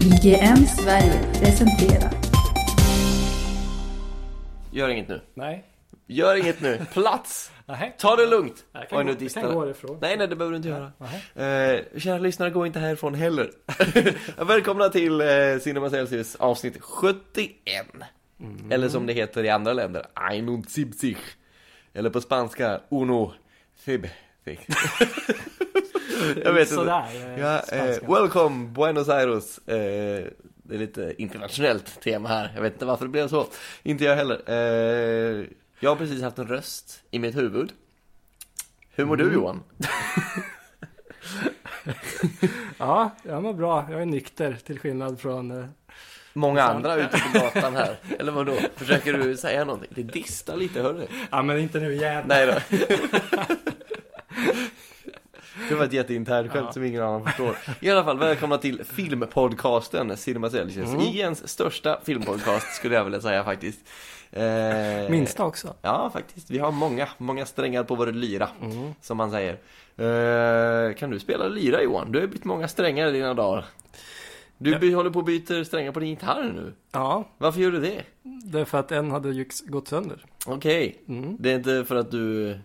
IGM Sverige presenterar Gör inget nu. Nej. Gör inget nu. Plats! Nej. Ta det lugnt! Jag kan Oj, gå- nu jag distar kan jag. gå härifrån. Nej, nej, det behöver du inte göra. Eh, kära lyssnare, gå inte härifrån heller. Välkomna till eh, Cinema Celsius avsnitt 71. Mm. Eller som det heter i andra länder, 71. Eller på spanska, uno sib. jag vet inte. Sådär. Ja, eh, welcome Buenos Aires. Eh, det är lite internationellt tema här. Jag vet inte varför det blev så. Inte jag heller. Eh, jag har precis haft en röst i mitt huvud. Hur mår du Johan? ja, jag mår bra. Jag är nykter till skillnad från... eh, Många andra ute på gatan här. Eller vadå? Försöker du säga någonting? Det distar lite hörru. Ja, men inte nu igen. Nej då. Det var ett jätteinternt skämt Ja. som ingen annan förstår. I alla fall, välkomna till filmpodcasten Cinema Celsius. IGNs största filmpodcast skulle jag vilja säga faktiskt. Eh, Minsta också. Ja, faktiskt. Vi har många, många strängar på vår lyra, som man säger. Eh, kan du spela lyra Johan? Du har bytt många strängar i dina dagar. Du by- håller på och byter strängar på din gitarr nu. Ja, Varför gör du det? därför att en hade ju gått sönder. Okej, Mm. det är inte för att du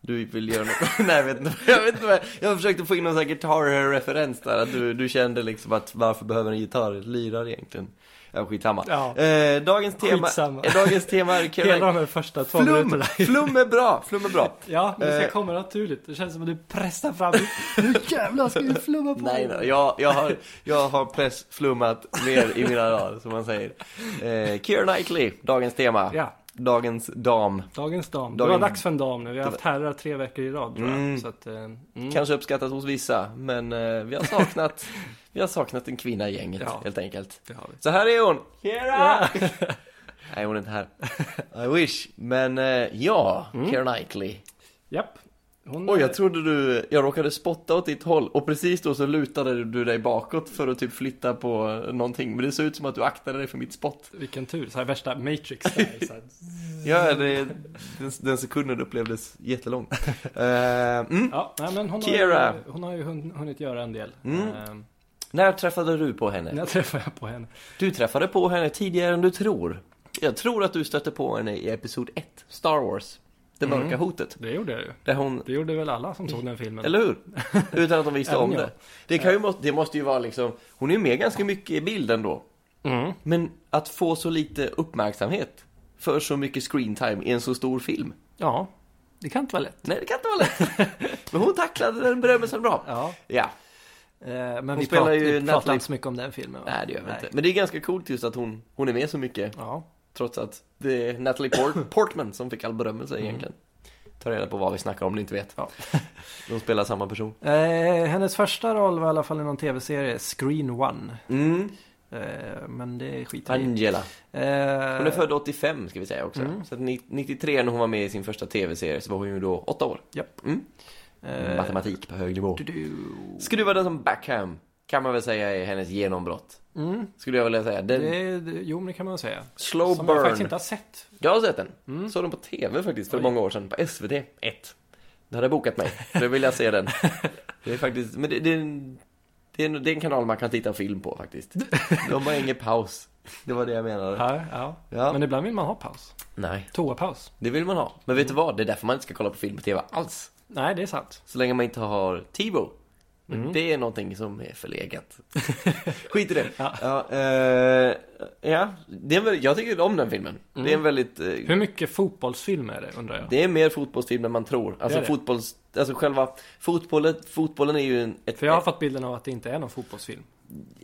du vill göra något, nej jag vet inte, jag vet inte vad jag, jag försökte få in någon sån här gitarrreferens där, att du, du kände liksom att varför behöver en gitarr lyrar egentligen? Ja, skitsamma. Ja. Eh, dagens tema, Skitsamma. eh, dagens tema är Hela Quebec. de här första två Flum, minuterna. flum är bra, flum är bra. Ja, men det ska Eh. komma naturligt. Det känns som att du pressar fram Nu jävlar ska du flumma på Nej, mig. nej jag, jag, har, jag har pressflummat mer i mina dagar, som man säger. Eh, Keira Knightley, dagens tema. Ja, Dagens dam. dagens dam. Det Dagen- var dags för en dam nu. Vi har haft herrar tre veckor i rad tror jag. Mm. Så att, eh, mm. Kanske uppskattas hos vissa, men eh, vi, har saknat, vi har saknat en kvinna i gänget, Ja. helt enkelt. Det har vi. Så här är hon! Ja. Nej, hon är inte här. I wish. Men eh, ja, Keira Knightley. Japp. Hon Oj, är- jag trodde du... Jag råkade spotta åt ditt håll och precis då så lutade du dig bakåt för att typ flytta på någonting. Men det såg ut som att du aktade dig för mitt spott. Vilken tur. Så här värsta Matrix där. Så här. Ja, det, den, den sekunden upplevdes jättelång. Eh, mm. Ja, nej, men hon, Har Keira. ju, hon har ju hun- hunnit göra en del. Mm. Ehm, När träffade du på henne? när träffade jag på henne? Du träffade på henne tidigare än du tror. Jag tror att du stötte på henne i Episod 1, Star Wars. Det mörka hotet. Det gjorde jag ju. Där hon Det gjorde väl alla som såg den filmen? Eller hur? Utan att de visste Även om jag. det. Det, kan ju, må- det måste ju vara liksom, hon är ju med ganska mycket i bilden då. Mm. Men att få så lite uppmärksamhet för så mycket screentime i en så stor film. Ja, det kan inte vara lätt. Nej, det kan inte vara lätt. Men hon tacklade den berömmelsen bra. Ja, Ja, eh, men Hon vi, spelar prat, ju vi pratar Natalie- inte så mycket om den filmen. va? nej det gör vi inte. Men det är ganska coolt just att hon, hon är med så mycket. Ja. Trots att det är Natalie Port- Portman som fick all berömmelse egentligen. Ta reda på vad vi snackar om, ni inte vet. Mm. Ja. De spelar samma person. Eh, hennes första roll var i alla fall i någon tv-serie, Screen One. Mm. Eh, men det skiter vi i. Angela. Eh, Hon är född 85 ska vi säga också. Mm. Så att ni- 93 när hon var med i sin första tv-serie så var hon ju då 8 år. Japp. Mm. eh, Matematik på hög nivå. du- du- Skruva den som Backham kan man väl säga är hennes genombrott. Mm, Skulle jag vilja säga. Den, det, är- det, jo, men det kan man säga. Slow som jag burn. faktiskt inte har sett. Jag har sett den. Mm. Såg den på tv faktiskt för Oj. många år sedan på SVT 1. Det hade bokat mig. Då vill jag se den. Det är faktiskt, men det, det, är en, det, är en, det är en kanal man kan titta film på faktiskt. De har ingen paus. Det var det jag menade. Ja, ja. Ja. Men ibland vill man ha paus. Nej, Toapaus. det vill man ha. Men vet du vad? Det är därför man inte ska kolla på film på tv alls. Nej, det är sant. Så länge man inte har Tivo. Men Mm. det är någonting som är förlegat. Skit i det. Ja. Ja, eh, ja. Det är väl, jag tycker om den filmen. Det är en väldigt... eh, Mm. Hur mycket fotbollsfilm är det undrar jag? det är mer fotbollsfilm än man tror. Alltså är det. fotbolls... Alltså själva fotbollen, fotbollen är ju en... Ett, För jag har fått bilden av att det inte är någon fotbollsfilm.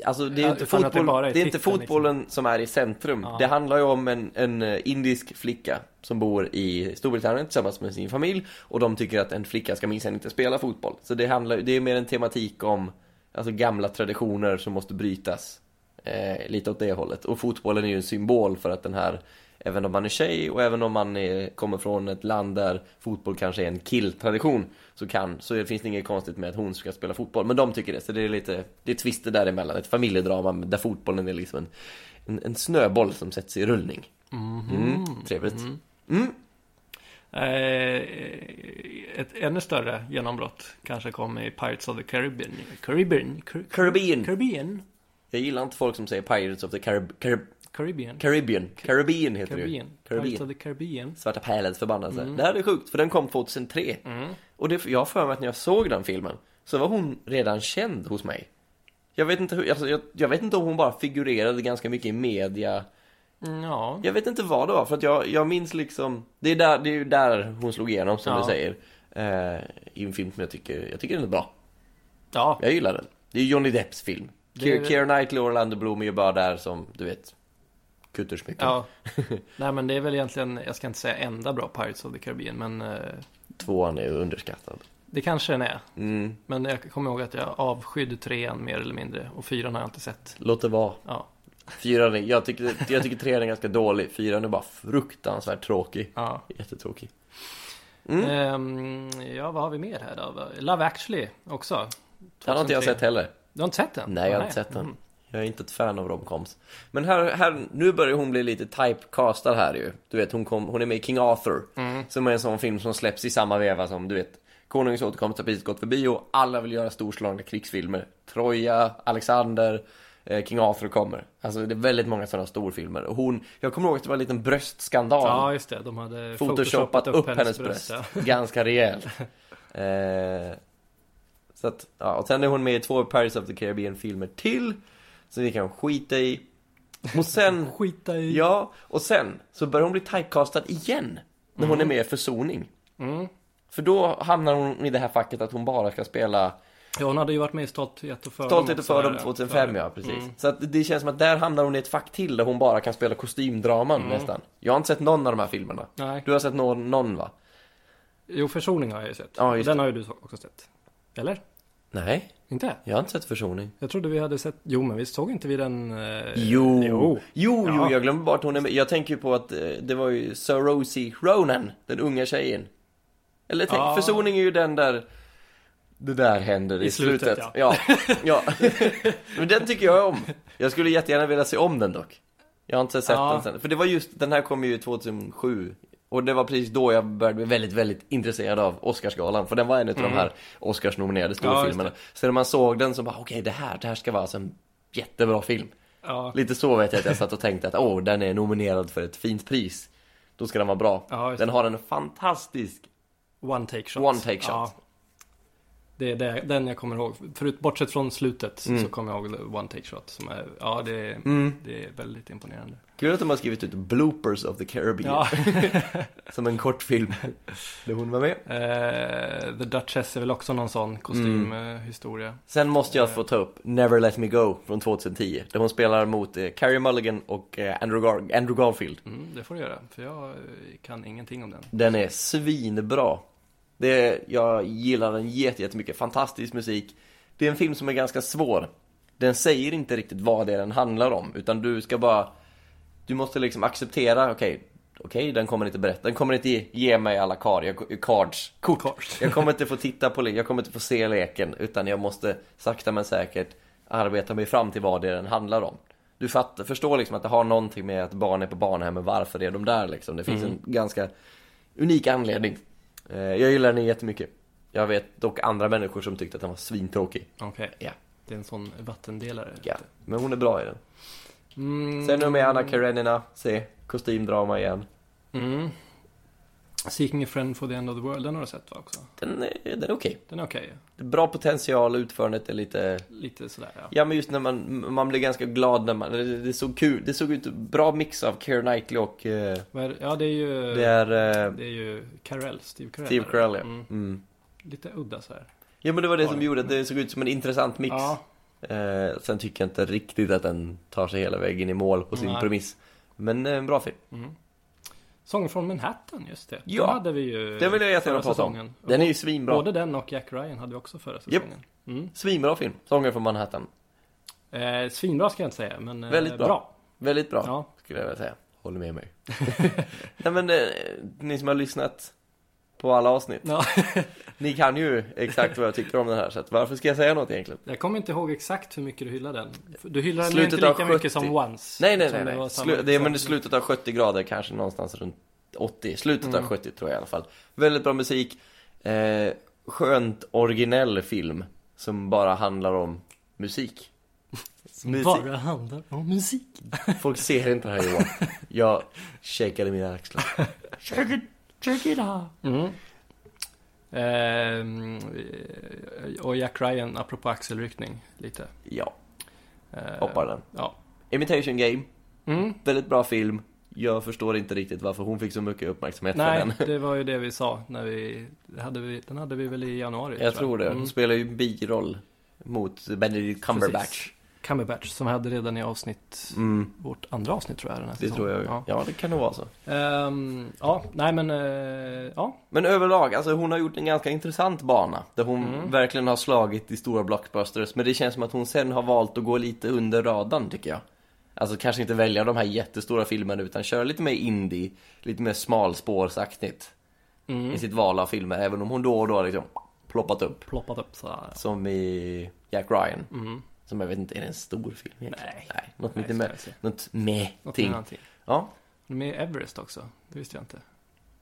Alltså det är ju Ja, inte utan att det fotboll, det bara är är inte titeln, liksom. fotbollen som är i centrum. Ja. Det handlar ju om en, en eh, indisk flicka som bor i Storbritannien tillsammans med sin familj och de tycker att en flicka ska minsann inte spela fotboll. Så det handlar det är mer en tematik om alltså gamla traditioner som måste brytas. Eh, lite åt det hållet. Och fotbollen är ju en symbol för att den här Även om man är tjej och även om man är, kommer från ett land där fotboll kanske är en killtradition Så, kan, så är- finns det inget konstigt med att hon ska spela fotboll Men de tycker det, så det är lite Det är twister däremellan, ett familjedrama där fotbollen är liksom en, en, en snöboll som sätts i rullning Mhm. mm, Trevligt Eh, ett ännu större genombrott kanske kom i Pirates of the Caribbean. Caribbean? Car- Caribbean Caribbean? Jag gillar inte folk som säger Pirates of the Carib- Carib- Caribbean. Caribbean. Caribbean heter det ju. Caribbean. Pirates of Caribbean. Mm. the Caribbean. Svarta pärlens förbannelse. Det här är sjukt, för den kom 2003. Mm. Och det, jag har för mig att när jag såg den filmen så var hon redan känd hos mig. Jag vet inte, hur, alltså, jag, jag vet inte om hon bara figurerade ganska mycket i media. Mm, Ja. Jag vet inte vad det var, för att jag, jag minns liksom... Det är, där, det är ju där hon slog igenom, som Ja. du säger. Eh, I en film som jag tycker, jag tycker den är bra. Ja. Jag gillar den. Det är Johnny Depps film. Det är Keira det. Keira Knightley och Orlando Bloom är ju bara där som, du vet, kuttersmycken. ja. Nej men det är väl egentligen, jag ska inte säga enda bra Pirates of the Caribbean men eh, Tvåan är ju underskattad. det kanske den är. Mm, Men jag kommer ihåg att jag avskydde trean mer eller mindre och fyran har jag inte sett. låt det vara. Ja. Fyran är, jag tycker, jag tycker trean är ganska dålig. Fyran är bara fruktansvärt tråkig. ja. Jättetråkig. Mm. Ehm, ja, vad har vi mer här då? Love actually också. Den har inte jag 2003. sett heller. Du har inte sett den? Nej, Mm. jag har inte sett den. Mhm. Jag är inte ett fan av romcoms. Men här, här, nu börjar hon bli lite typecastad här ju. Du vet, hon, kom, hon är med i King Arthur. Som är en sån film som släpps i samma veva som, du vet, Konungens återkomst har precis gått förbi och alla vill göra storslagna krigsfilmer. Troja, Alexander, eh, King Arthur kommer. Alltså det är väldigt många sådana storfilmer. Och hon, jag kommer ihåg att det var en liten bröstskandal. Ja, just det. De hade Photoshopat upp hennes bröst. ja. Ganska rejält. Eh, så att, ja, och sen är hon med i två Pirates of the Caribbean-filmer till. Så vi kan skita i. Och sen, Skita i. ja, och sen så börjar hon bli typecastad igen. När hon är med i Försoning. Mm. För då hamnar hon i det här facket att hon bara ska spela ja, hon hade ju varit med i Stolthet och fördom. Stolthet och också där, fördom 2005 ja, precis. Så att det känns som att där hamnar hon i ett fack till där hon bara kan spela kostymdraman nästan. Jag har inte sett någon av de här filmerna. Nej. Du har sett någon, någon va? Jo, Försoning har jag ju sett. Ja, Och just den har ju du också sett. Eller? Nej, Inte? jag har inte sett Försoning. Jag trodde vi hade sett... Jo, men visst såg inte vi den... Eh... Jo, Jo. jo, jo, Ja. jag glömde bort hon är med. Jag tänker ju på att eh, det var ju Sir Rosie Ronan, den unga tjejen. Eller tänk, Ja. försoning är ju den där, det där händer i, I slutet, slutet. ja. ja, Men den tycker jag om. Jag skulle jättegärna vilja se om den dock. Jag har inte sett Ja. den sen. För det var just, den här kom ju 2007. Och det var precis då jag började bli väldigt, väldigt intresserad av Oscarsgalan. För den var en av de här Oscarsnominerade Mm. Ja, just storfilmerna. Så när man såg den så bara, okej det här, det här ska vara alltså en jättebra film. Ja. Lite så vet jag att jag satt och tänkte att åh, den är nominerad för ett fint pris. Då ska den vara bra. Ja, just den har en fantastisk One take shot. one take shot. Ja. Det är det, den jag kommer ihåg. Förut, bortsett från slutet så Mm. kommer jag ihåg the One take shot. Som är, ja, det, är- det är väldigt imponerande. Kul att de har skrivit ut Bloopers of the Caribbean Ja. som en kortfilm. Där hon var med. Eh, the Duchess är väl också någon sån Mm. eh, kostymhistoria. Sen måste jag få ta upp Never Let Me Go från 2010. Där hon spelar mot eh, Carrie Mulligan och eh, Andrew, Gar- Andrew Garfield. Mm, det får du göra, för jag eh, kan ingenting om den. Den är svinbra. Det är, jag gillar den jätte- jättemycket. Fantastisk musik. Det är en film som är ganska svår. Den säger inte riktigt vad det är den handlar om, utan du ska bara... Du måste liksom acceptera, okej, okej, den kommer inte berätta, den kommer inte ge, ge mig alla kar, jag, cards, kort. Cards. Jag kommer inte få titta på, le- jag kommer inte få se leken, utan jag måste sakta men säkert arbeta mig fram till vad det är den handlar om. Du fattar, förstår liksom att det har någonting med att barn är på barnhemmet, varför är de där liksom? Det finns en ganska unik anledning. Eh, Jag gillar den jättemycket. Jag vet dock andra människor som tyckte att den var svintråkig. Okej, Ja. det är en sån vattendelare. Ja, men hon är bra i den. Mm, Sen är hon med Anna Karenina, se, kostymdrama igen. mm. Seeking a friend for the end of the world, den har du sett va också? Den är, den är okej. Den är okej, Bra potential, utförandet är lite... lite sådär ja. Ja men just när man, man blir ganska glad när man, det, det såg kul, det såg ut, bra mix av Keira Knightley och eh, Vad är det- Ja, det är ju... det är eh, Det är ju Carell, Steve Carell. Steve är det. Carell ja. Mm. mm. Lite udda så här. Ja men det var det Ja, som det- gjorde att det såg ut som en intressant mix. Ja, Eh, sen tycker jag inte riktigt att den tar sig hela vägen i mål på sin Nej. premiss. Men eh, en bra film. Sången Mm. från Manhattan, just det. Ja. Den hade vi ju Den vill jag jättegärna förra prata om. säsongen. Den är ju svinbra. Både den och Jack Ryan hade vi också förra säsongen. Mm. Svinbra film. Sången från Manhattan. Eh, svinbra ska jag inte säga, men eh, Väldigt bra. Väldigt bra, Ja. skulle jag vilja säga. Håller med mig. Nej men, eh, ni som har lyssnat på alla avsnitt. Ja. Ni kan ju exakt vad jag tycker om den här, så att varför ska jag säga något egentligen? Jag kommer inte ihåg exakt hur mycket du hyllade den. Du hyllade den Slutet inte lika av mycket som 70. Once. Nej, nej, eftersom nej, nej. var samma Slu- det är men det är säsong. slutet av 70 grader, kanske någonstans runt 80. Slutet av 70 tror jag i alla fall. Väldigt bra musik. Eh, skönt originell film som bara handlar om musik. Mysigt. Bara handlar om musik. Folk ser inte det här Johan. Jag shakade mina axlar. Shake it, shake it up. Mm. Ehm, eh, och Jack Ryan, apropå axelryckning, lite. Ja, Eh, hoppar den. Ja. Imitation Game, Mm. väldigt bra film. Jag förstår inte riktigt varför hon fick så mycket uppmärksamhet för Nej, den. det var ju det vi sa när vi, det hade vi den hade vi väl i januari? Jag tror det. Mm. Hon spelar ju en biroll mot Benedict Cumberbatch. Cumberbatch som vi hade redan i avsnitt, Mm, vårt andra avsnitt tror jag den här det tror jag. Ja. Ja. ja, det kan nog vara så. Ehm, ja, nej men, eh, ja. Men överlag, alltså hon har gjort en ganska intressant bana där hon Mm. verkligen har slagit i stora blockbusters men det känns som att hon sen har valt att gå lite under radarn tycker jag. Alltså kanske inte välja de här jättestora filmerna utan köra lite mer indie, lite mer smalspårsaktigt Mm. i sitt val av filmer även om hon då och då har liksom ploppat upp. Ploppat upp så här. Som i Jack Ryan, Mm. som jag vet inte, är det en stor film? egentligen? Nej. Nej, något Nej, lite ska med, jag se. något med Något ting. annat ting. Ja, Med Everest också, det visste jag inte.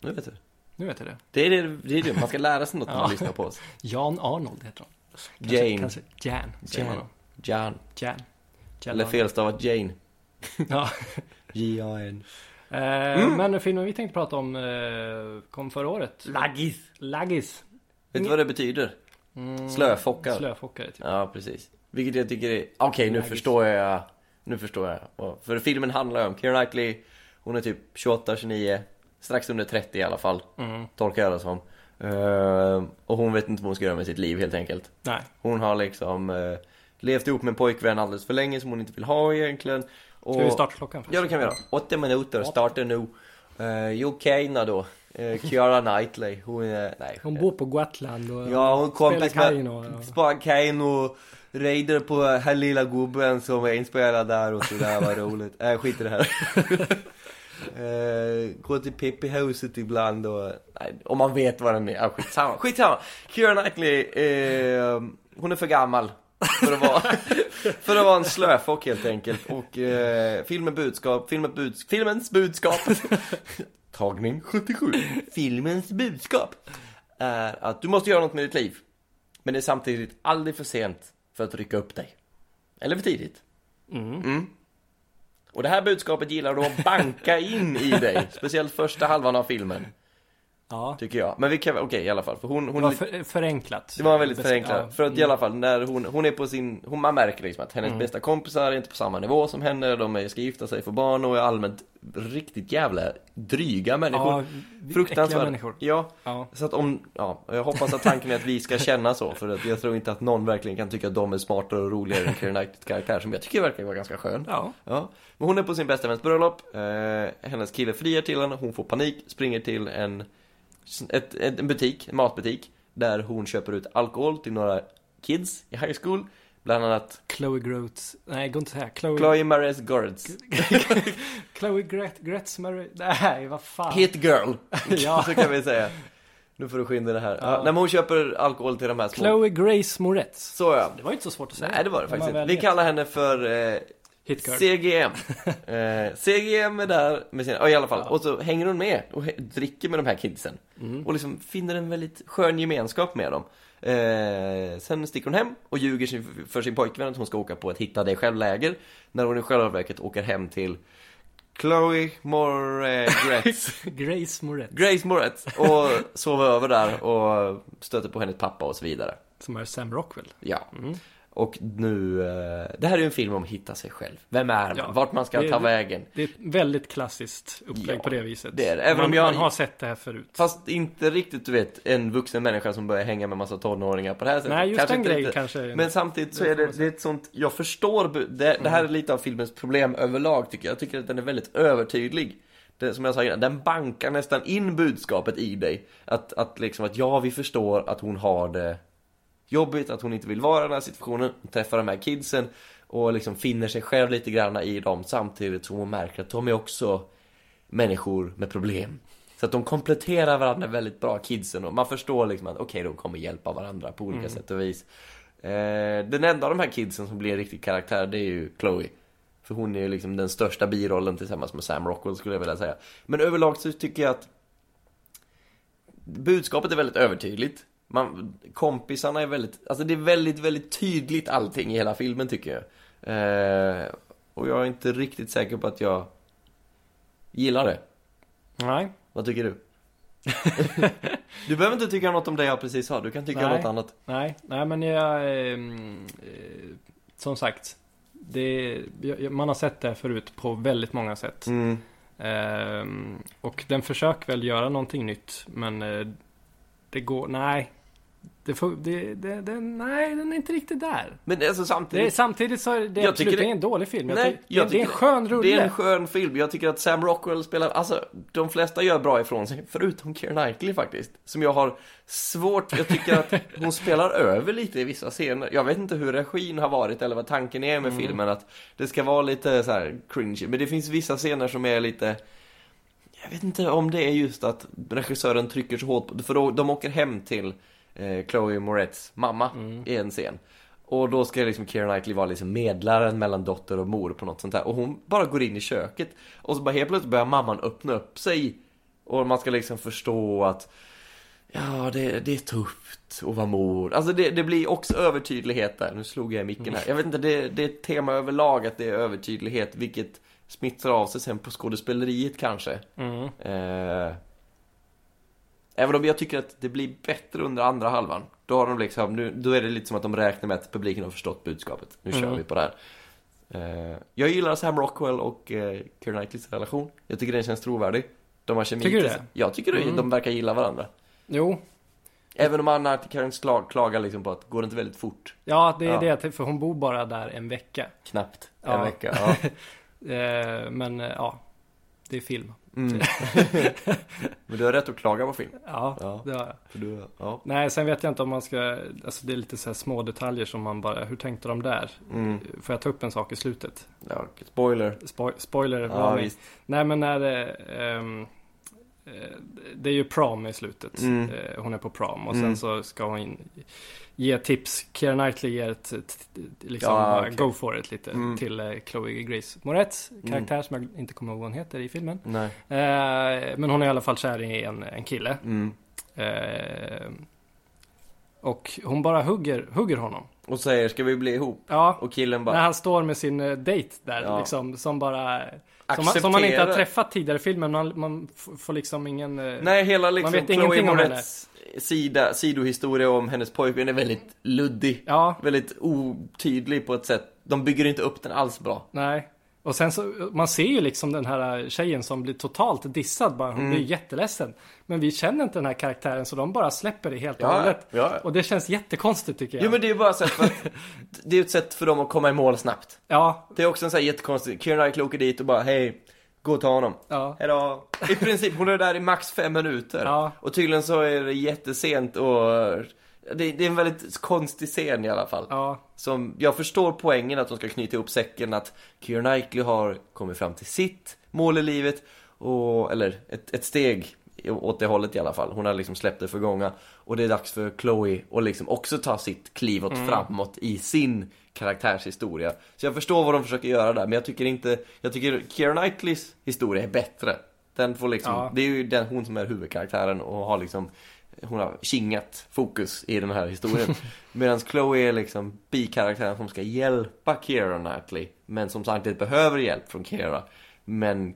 nu vet du. Nu vet jag det. Det är det, det, är det. man ska lära sig något när man Ja. lyssnar på oss. Jan Arnold heter hon. Jane. Kanske Jan, Jan. säger man då. Jan. Jan. Jan Eller Arnold. felstavat Jane. Ja. J-A-N. Eh, Mm. Men filmen vi tänkte prata om eh, kom förra året. Laggis. Laggis. Vet du vad det betyder? Mm. Slöfockad. Slöfockare typ. Ja, precis. Vilket jag tycker är... Okej, nu Laggis. förstår jag. Nu förstår jag. Och- För filmen handlar ju om Keira Knightley. Hon är typ 28, 29. Strax under 30 i alla fall. Mm. Tolkar jag det som. Ehm, och hon vet inte vad hon ska göra med sitt liv helt enkelt. Nej. Hon har liksom eh, levt ihop med en pojkvän alldeles för länge som hon inte vill ha egentligen. Och... Ska vi starta klockan först? Ja, det kan vi göra. Åtta minuter, starta nu. Uh, Jokaina då. Uh, Kiara Knightley. Hon är... Nej. eh, Hon bor på Gotland och Ja, hon är kompis spelar med... kajno. ja. Spara Kaino. Raider på den här lilla gubben som är inspelad där och sådär, vad roligt. Nej, äh, skit i det här. Eh, gå till Pippi-huset ibland och... Nej, om man vet vad den är. Äh, skitsamma. Skitsamma! Keira Knightley, eh, hon är för gammal. För att vara, för att vara en slöfock helt enkelt. Och eh, filmen budskap, filmen buds, filmens budskap. Tagning 77. Filmens budskap är att du måste göra något med ditt liv. Men det är samtidigt aldrig för sent för att rycka upp dig. Eller för tidigt. Mm. Och det här budskapet gillar du att banka in i dig. Speciellt första halvan av filmen, Ja. tycker jag. Men vi kan, okej i alla fall. För hon, Det hon var för, förenklat. Det var väldigt Bes- förenklat. ja. Mm. För att i alla fall när hon, hon är på sin, hon, man märker liksom att hennes bästa kompisar är inte på samma nivå som henne. De är, ska gifta sig, få barn och är allmänt riktigt jävla dryga människor. Ja, vi- äckliga Fruktansvärda. människor. Ja, Ja. så att om, ja, jag hoppas att tanken är att vi ska känna så. För att jag tror inte att någon verkligen kan tycka att de är smartare och roligare än Keira Knightley karaktär som jag tycker verkar vara ganska skön. Ja. Ja, men hon är på sin bästa väns bröllop. Eh, hennes kille friar till henne, hon får panik, springer till en, ett, ett, en butik, en matbutik, där hon köper ut alkohol till några kids i high school. Bland annat Chloe Grotes. Nej, gå inte så här. Chloe... Chloe Mares Gertz. Chloe Gret... Gretzmary. Nej, vad fan. Hit girl, Ah. Ja. så kan vi säga. Nu får du skynda dig här. Ja. Ja. nej, men hon köper alkohol till de här små. Chloe Grace Moretz. Så ja. Det var inte så svårt att säga. Nej, det var det Om faktiskt man inte. väl Vi vet. kallar henne för eh, Hit girl. CGM. Eh, CGM är där med sina, ja, i alla fall. Ja. Och så hänger hon med och he- dricker med de här kidsen. Mm. Och liksom finner en väldigt skön gemenskap med dem. Eh, sen sticker hon hem och ljuger sin, för sin pojkvän att hon ska åka på ett hitta dig själv-läger. När hon i själva verket åker hem till Chloe Moretz. Grace Moretz. Grace Moretz. Och sover över där och stöter på hennes pappa och så vidare. Som är Sam Rockwell. Ja. Mm. Och nu, eh, det här är ju en film om att hitta sig själv. Vem är man? Ja, Vart man ska det- ta det- vägen. Det är ett väldigt klassiskt upplägg Ja, på det viset. det är det. Även man, om jag- man har sett det här förut. Fast inte riktigt, du vet, en vuxen människa som börjar hänga med massa tonåringar på det här sättet. Nej, just Kanske den inte grejen riktigt. kanske. Men samtidigt så Det är får det, man det är ett sånt, jag förstår, bu- det, det här är lite av filmens problem överlag tycker jag. Jag tycker att den är väldigt övertydlig. Det, som jag sa innan, den bankar nästan in budskapet i dig. Att, att liksom att ja, vi förstår att hon har det jobbigt, att hon inte vill vara i den här situationen. Hon träffar de här kidsen och liksom finner sig själv lite grann i dem samtidigt som hon märker att de är också människor med problem. Så att de kompletterar varandra väldigt bra, kidsen. Och man förstår liksom att okej, de kommer hjälpa varandra på olika sätt och vis. Eh, den enda av de här kidsen som blir en riktig karaktär, det är ju Chloe. För hon är ju liksom den största birollen tillsammans med Sam Rockwell skulle jag vilja säga. Men överlag så tycker jag att budskapet är väldigt övertydligt. Man, kompisarna är väldigt, alltså det är väldigt, väldigt tydligt allting i hela filmen tycker jag. Eh, och jag är inte riktigt säker på att jag gillar det. Nej. Vad tycker du? du behöver inte tycka något om det jag precis sa, du kan tycka Nej. något annat. Nej, nej men jag... ehm, eh, som sagt. Det, jag- jag- man har sett det här förut på väldigt många sätt. Mm. Ehm, och den försöker väl göra någonting nytt. Men eh, det går... Nej. Det får, det, det, det, nej, den är inte riktigt där. Men alltså Det är, samtidigt, samtidigt så är det Jag absolut tycker det- ingen dålig film. Jag Nej, tycker- jag det, det är en tycker- skön det är rulle. en skön film. Jag tycker att Sam Rockwell spelar, alltså de flesta gör bra ifrån sig, förutom Keira Knightley faktiskt. Som jag har svårt, jag tycker att hon spelar över lite i vissa scener. Jag vet inte hur regin har varit eller vad tanken är med Mm. filmen, att det ska vara lite så här cringy. Men det finns vissa scener som är lite, jag vet inte om det är just att regissören trycker så hårt på, för då, de åker hem till eh, Chloe Moretz mamma Mm. i en scen. Och då ska liksom Keira Knightley vara liksom medlaren mellan dotter och mor på något sånt där. Och hon bara går in i köket och så bara helt plötsligt börjar mamman öppna upp sig. Och man ska liksom förstå att ja, det, det är tufft att vara mor. Alltså det, det blir också övertydlighet där. Nu slog jag i micken här. Jag vet inte, det, det är ett tema överlag att det är övertydlighet, vilket smittar av sig sen på skådespeleriet kanske. Mm. Eh, även om jag tycker att det blir bättre under andra halvan. Då har de liksom, nu, då är det lite som att de räknar med att publiken har förstått budskapet. Nu kör Mm. vi på det här. Eh, jag gillar Sam Rockwell och eh, Keira Knightleys relation. Jag tycker den känns trovärdig. De har kemi. Tycker du tills- det? Jag tycker det. Mm. De verkar gilla varandra. Jo, Även om Anna Karen's klag, klagar liksom på att går det inte väldigt fort? ja det är Ja. det. att- För hon bor bara där en vecka. Knappt. En Ja. vecka. Ja. Eh, men eh, ja, det är film. Mm. Men du har rätt att klaga på film. Ja, Ja. det har jag. För du, ja. Nej, sen vet jag inte om man ska... Alltså det är lite så här små detaljer som man bara... Hur tänkte de där? Mm. Får jag ta upp en sak i slutet? ja. Spoiler. Spoil- spoiler Ja, varning. visst. Nej, men när det... ehm, eh, det är ju prom i slutet. Mm. Eh, Hon är på prom och Mm. sen så ska hon in, ge tips. Keira Knightley ger ett, ett, ett- liksom Ja, bara okej. go for it lite Mm. till eh, Chloe Grace Moretz karaktär som jag inte kommer ihåg vad hon heter i filmen. Nej. Eh, men hon är i alla fall kär i en, en kille. Mm. Eh, och hon bara hugger, hugger honom. Och säger, ska vi bli ihop? Ja, Och killen när bara han står med sin eh, dejt där Ja. liksom. Som bara... Som man, accepterar. som man inte har träffat tidigare i filmen. Man, man f- får liksom ingen... eh, Nej, hela liksom Man vet Chloe ingenting om Moretz sida, sidohistoria om hennes pojkvän är väldigt luddig. Ja, Väldigt otydlig på ett sätt. De bygger inte upp den alls bra. nej. Och sen så, man ser ju liksom den här tjejen som blir totalt dissad bara. Hon Mm. blir jätteledsen. Men vi känner inte den här karaktären så de bara släpper det helt och Ja, hållet. ja. Och det känns jättekonstigt tycker jag. Jo men det är bara sätt för att, det är ett sätt för dem att komma i mål snabbt. Ja, Det är också en sån här jättekonstig, Keira Knightley åker dit och bara hej, gå och ta honom. ja. Hejdå. I princip, hon är där i max fem minuter. Ja. Och tydligen så är det jättesent och det, det är en väldigt konstig scen i alla fall. Ja, Som, jag förstår poängen att de ska knyta ihop säcken att Keira Knightley har kommit fram till sitt mål i livet och, eller ett, ett steg åt det hållet i alla fall. Hon har liksom släppt det förgångna och det är dags för Chloe att liksom också ta sitt kliv åt framåt i sin karaktärshistoria. Så jag förstår vad de försöker göra där men jag tycker inte, jag tycker Keira Knightleys historia är bättre. Den får liksom, Ja. det är ju den, hon som är huvudkaraktären och har liksom hon har kingat fokus i den här historien. Medan Chloe är liksom bikaraktären som ska hjälpa Keira Knightley. Men som samtidigt behöver hjälp från Keira. Men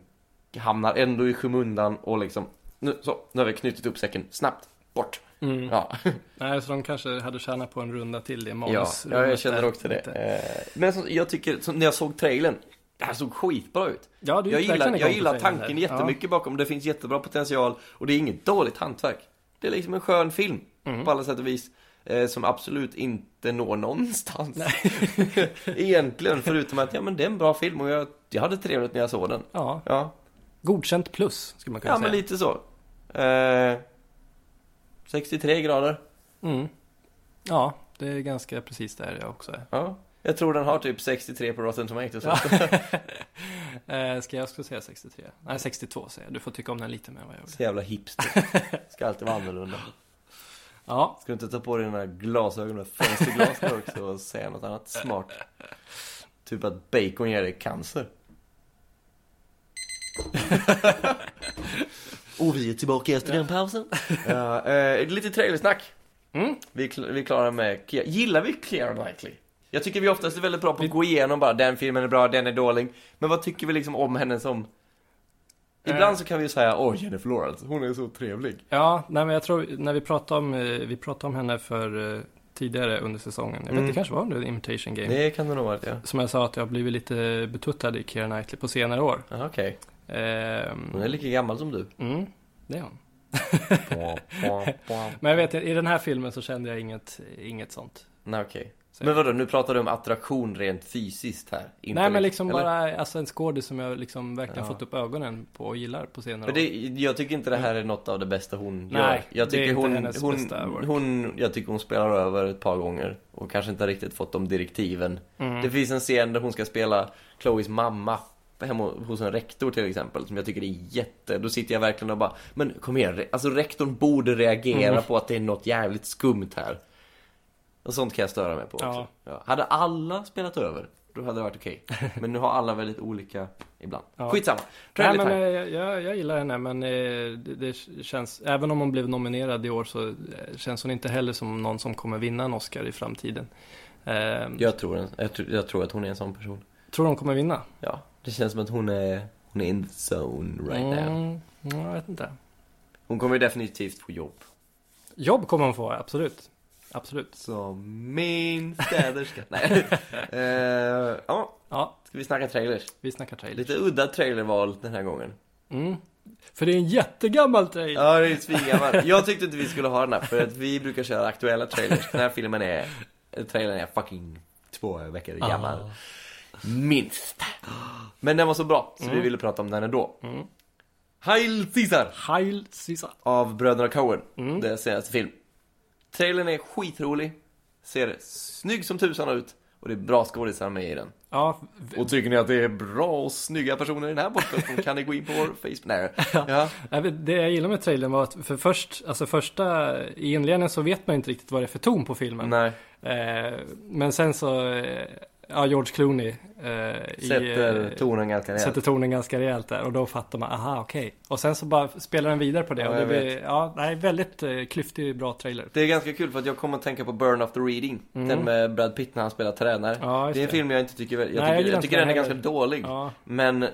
hamnar ändå i skymundan och liksom, nu, så, nu har vi knutit upp säcken, snabbt, bort. mm. Ja, Nej, så de kanske hade tjänat på en runda till i ja, manusrummet. ja jag känner där. också det. Eh, Men som, jag tycker, som när jag såg trailern, det här såg skitbra ut. Ja, du gick Jag gillar, verkligen igång jag på gillar trailern tanken där. jättemycket bakom, det finns jättebra potential och det är inget dåligt hantverk. Det är liksom en skön film Ja. Mm. på alla sätt och vis. Eh, som absolut inte når någonstans. Egentligen, förutom att ja, men det är en bra film och jag, jag hade trevligt när jag såg den. Ja, Ja, godkänt plus skulle man kunna ja säga. men lite så. Eh, 63 grader. Mm. Ja, det är ganska precis där jag också är. Ja. Jag tror den har typ 63 på Rotten Tomatoes. Ja. Eh, ska jag skulle säga 63? Nej, 62 säger jag. Du får tycka om den lite mer än vad jag gjorde. Så jävla hipster. Ska alltid vara annorlunda. Ja, Ska du inte ta på dig dina glasögon och fönsterglasen också och säga något annat smart? Typ att bacon ger dig cancer. och vi är tillbaka efter den pausen. Ja, eh, lite trailersnack. Mm. Vi, är kl- vi är klara med Keira. Gillar vi Keira Knightley? Jag tycker vi oftast är väldigt bra på att gå igenom bara, den filmen är bra, den är dålig. Men vad tycker vi liksom om henne som... Ibland så kan vi ju säga, åh Jennifer Lawrence, hon är så trevlig. Ja, nej, men jag tror när vi pratade om, eh, vi pratade om henne för eh, tidigare under säsongen. Jag vet Mm. inte, det kanske var under Imitation Game. Det kan det nog vara, ja. Som jag sa att jag har blivit lite betuttad i Keira Knightley på senare år. Aha, Okej, Ehm, hon är lika gammal som du. mm, det är hon. Men jag vet, i den här filmen så kände jag inget, inget sånt. Nej okej. Så- Men vadå, nu pratar du om attraktion rent fysiskt här? Inte Nej, men liksom eller? bara alltså, en skådis som jag liksom verkligen Ja. fått upp ögonen på och gillar på senare Men år. det, jag tycker inte det här är något av det bästa hon Nej, gör. Jag det är tycker inte hon, hennes hon, bästa work. hon, jag tycker hon spelar över ett par gånger och kanske inte riktigt fått de direktiven. Mm. Det finns en scen där hon ska spela Chloes mamma hemma hos en rektor till exempel som jag tycker är jätte, då sitter jag verkligen och bara Men kom igen, re- alltså rektorn borde reagera Mm. på att det är något jävligt skumt här Och sånt kan jag störa mig på också. Ja. Ja. Hade alla spelat över, då hade det varit okej Men nu har alla väldigt olika ibland Ja. Skitsamma, Nej, trailer men, time! eh, jag, jag, jag gillar henne, men eh, det, det känns, även om hon blev nominerad i år så eh, känns hon inte heller som någon som kommer vinna en Oscar i framtiden. Ehm, eh, Jag tror, en- jag, tror, jag tror att hon är en sån person. Tror du hon kommer vinna? Ja, det känns som att hon är, hon är in the zone right now. mm, Jag vet inte. Hon kommer ju definitivt få jobb. Jobb kommer hon få, absolut. Absolut. Som min städerska. Nej. Eh, ja, Ja, ska vi snacka trailers? vi snackar trailer. Lite udda trailerval den här gången. Mm. För det är en jättegammal trailer. Ja, det är svingammal. Jag tyckte inte vi skulle ha den här för att vi brukar köra aktuella trailers. Den här filmen är, trailern är fucking två veckor gammal. Ah. Minst. Men den var så bra, så vi Mm. ville prata om den ändå. Heil Caesar! Heil Caesar. av Bröderna Coen, Mm. deras senaste film. Trailern är skitrolig, ser snygg som tusan ut och det är bra skådisar med i den. Ja, v- Och tycker ni att det är bra och snygga personer i den här podcasten kan ni gå in på vår Facebook. Nej, ja. nej, men det jag gillade med trailern var att för först, alltså första, i inledningen så vet man inte riktigt vad det är för ton på filmen. Nej. Eh, men sen så, eh, ja George Clooney eh, i, eh, Sätter tonen ganska rejält. sätter tonen ganska rejält där och då fattar man, aha okej. Och sen så bara spelar den vidare på det Ja, och det jag blir, ja, nej, väldigt eh, klyftig, bra trailer. Det är ganska kul för att jag kommer att tänka på Burn After Reading. Mm. Den med Brad Pitt när han spelar tränare. Ja, just det är en det. film jag inte tycker, jag Nej, jag tycker, gillar jag inte tycker den den är ganska heller. dålig. Ja, Men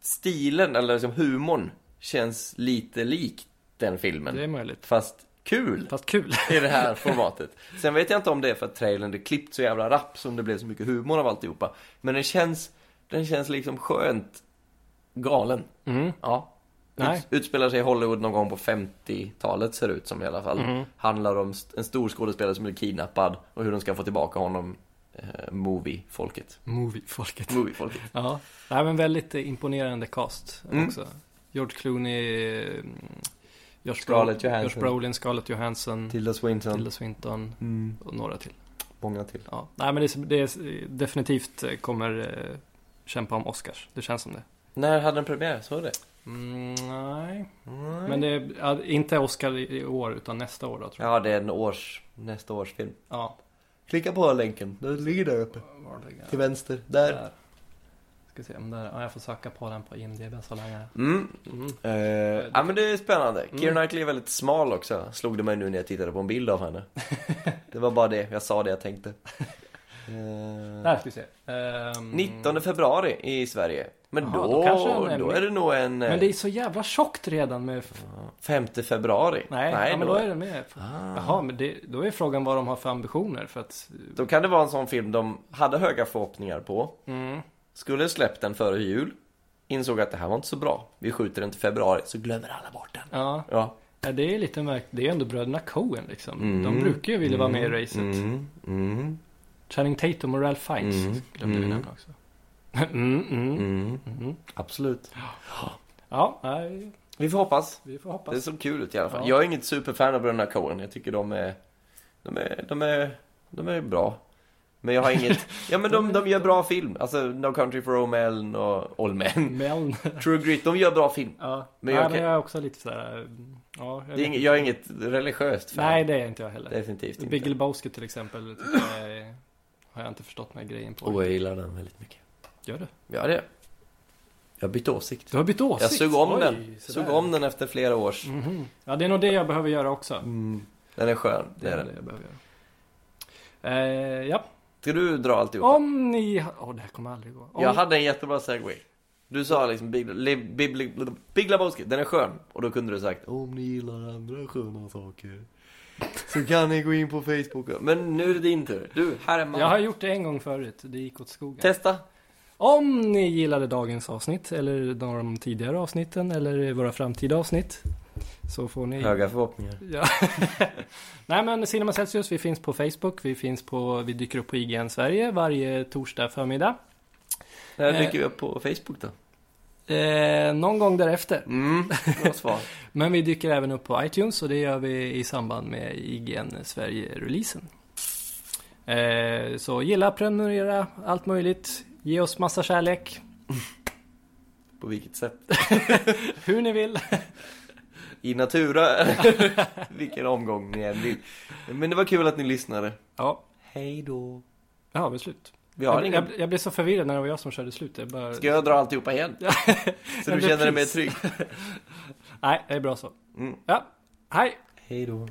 stilen, eller liksom humorn, känns lite lik den filmen. det är möjligt. Fast kul! Fast kul. i det här formatet. Sen vet jag inte om det är för att trailern är klippt så jävla rapp som det blev så mycket humor av alltihopa. Men den känns, den känns liksom skönt galen. Mm. Ja. Nej. Ut, utspelar sig i Hollywood någon gång på 50-talet ser det ut som i alla fall. Mhm. Handlar om st- en stor skådespelare som blir kidnappad och hur de ska få tillbaka honom. Eh, Movie-folket. Movie-folket. Movie-folket. Ja, nej men väldigt eh, imponerande cast Mm. också. George Clooney, eh, mm, Josh, Scarlett Bro- Johansson. Josh Brolin, Scarlett Johansson, Tilda Swinton. Tilda Swinton Mm, och några till. många till. Ja. Nej men det, är- det är, definitivt eh, kommer eh, kämpa om Oscars. Det känns som det. När hade den premiär? Såg du det? Mm, nej, Nej. men det är, ja, inte Oscar i i år utan nästa år då tror jag. Ja, det är en års, nästa års film. Ja. Klicka på länken. Den ligger där uppe. Var ligger Till den? vänster. Där. Ska se om där, ja, jag får söka på den på IMDB så länge. Mm. Mm. Eh, ja men det är spännande. Keira Knightley är väldigt smal också. Slog det mig nu när jag tittade på en bild av henne. det var bara det, jag sa det jag tänkte. Eh, Där ska vi se. Ehm, 19 februari i Sverige. Men Jaha, då, då kanske den är då, med. är det nog en... eh, Men det är så jävla tjockt redan med... 5 februari. Nej, ja, men då är den med. Ah. Jaha, men det, då är frågan vad de har för ambitioner för att... Då kan det vara en sån film de hade höga förhoppningar på. Mm. Skulle släppt den före jul. Insåg att det här var inte så bra. Vi skjuter den till februari, så glömmer alla bort den. Ja, Ja. ja, det är lite märkt. Det är ändå bröderna Coen liksom. Mm. De brukar ju vilja vara med i racet. Mm, mm, Channing Tatum och Ralph Fiennes Mm. glömde vi Mm. nämna också. mm, mm. mm. Mm. Absolut. Ja, nej, Vi får hoppas. vi får Det hoppas. såg kul ut i alla fall. Ja. Jag är inget superfan av bröderna Coen. Jag tycker de är, de är, de är, de är bra. Men jag har inget, ja men de, de gör bra film. Alltså No Country for Old Men och Old Men. Men, True Grit, de gör bra film. ja. Men Men jag jag, nej, kan- men jag är också lite sådär... Ja, jag Det är vet inget, inte. jag är inget religiöst fan. Nej, det är inte jag heller. Definitivt Big inte. Lebowski till exempel tycker jag är, har jag inte förstått mig grejen på. Och jag gillar den väldigt mycket. Gör du? Ja det. Jag har bytt åsikt. Du har bytt åsikt? Jag såg om Oj, den. sådär. Såg om den efter flera års. Mhm. Ja, det är nog det jag behöver göra också. Mm. Den är skön, det är den. jag behöver göra. Eh, ja, Ska du dra alltihopa? om ni... ha- Åh, det här kommer aldrig gå. Om... Jag hade en jättebra segway. Du sa liksom Big, Le- Big, Big, Big Lebowski, den är skön. Och då kunde du sagt om ni gillar andra sköna saker så kan ni gå in på Facebook. Men nu är det din tur. Du, här är man. Jag har gjort det en gång förut, det gick åt skogen. Testa. Om ni gillade dagens avsnitt eller de av de tidigare avsnitten eller våra framtida avsnitt så får ni... Höga förhoppningar. Ja. Nej men Cinema Celsius, vi finns på Facebook, vi finns på, vi dyker upp på IGN Sverige varje torsdag förmiddag. När Eh. dyker vi upp på Facebook då? Eh, någon gång därefter. Mm, bra svar. Men vi dyker även upp på iTunes och det gör vi i samband med IGN Sverige-releasen. Eh, så gilla, prenumerera, allt möjligt. Ge oss massa kärlek, På vilket sätt? hur ni vill. I natura. Vilken omgång ni än vill. Men det var kul att ni lyssnade. Ja, Hej då. ja vi är slut. Vi har Jag, ingen... jag, jag blev så förvirrad när det var jag som körde slut. Jag bara... Ska jag dra alltihopa igen? Så du men känner dig mer precis. trygg? Nej, det är bra så. Mm. Ja, hej! Hej då.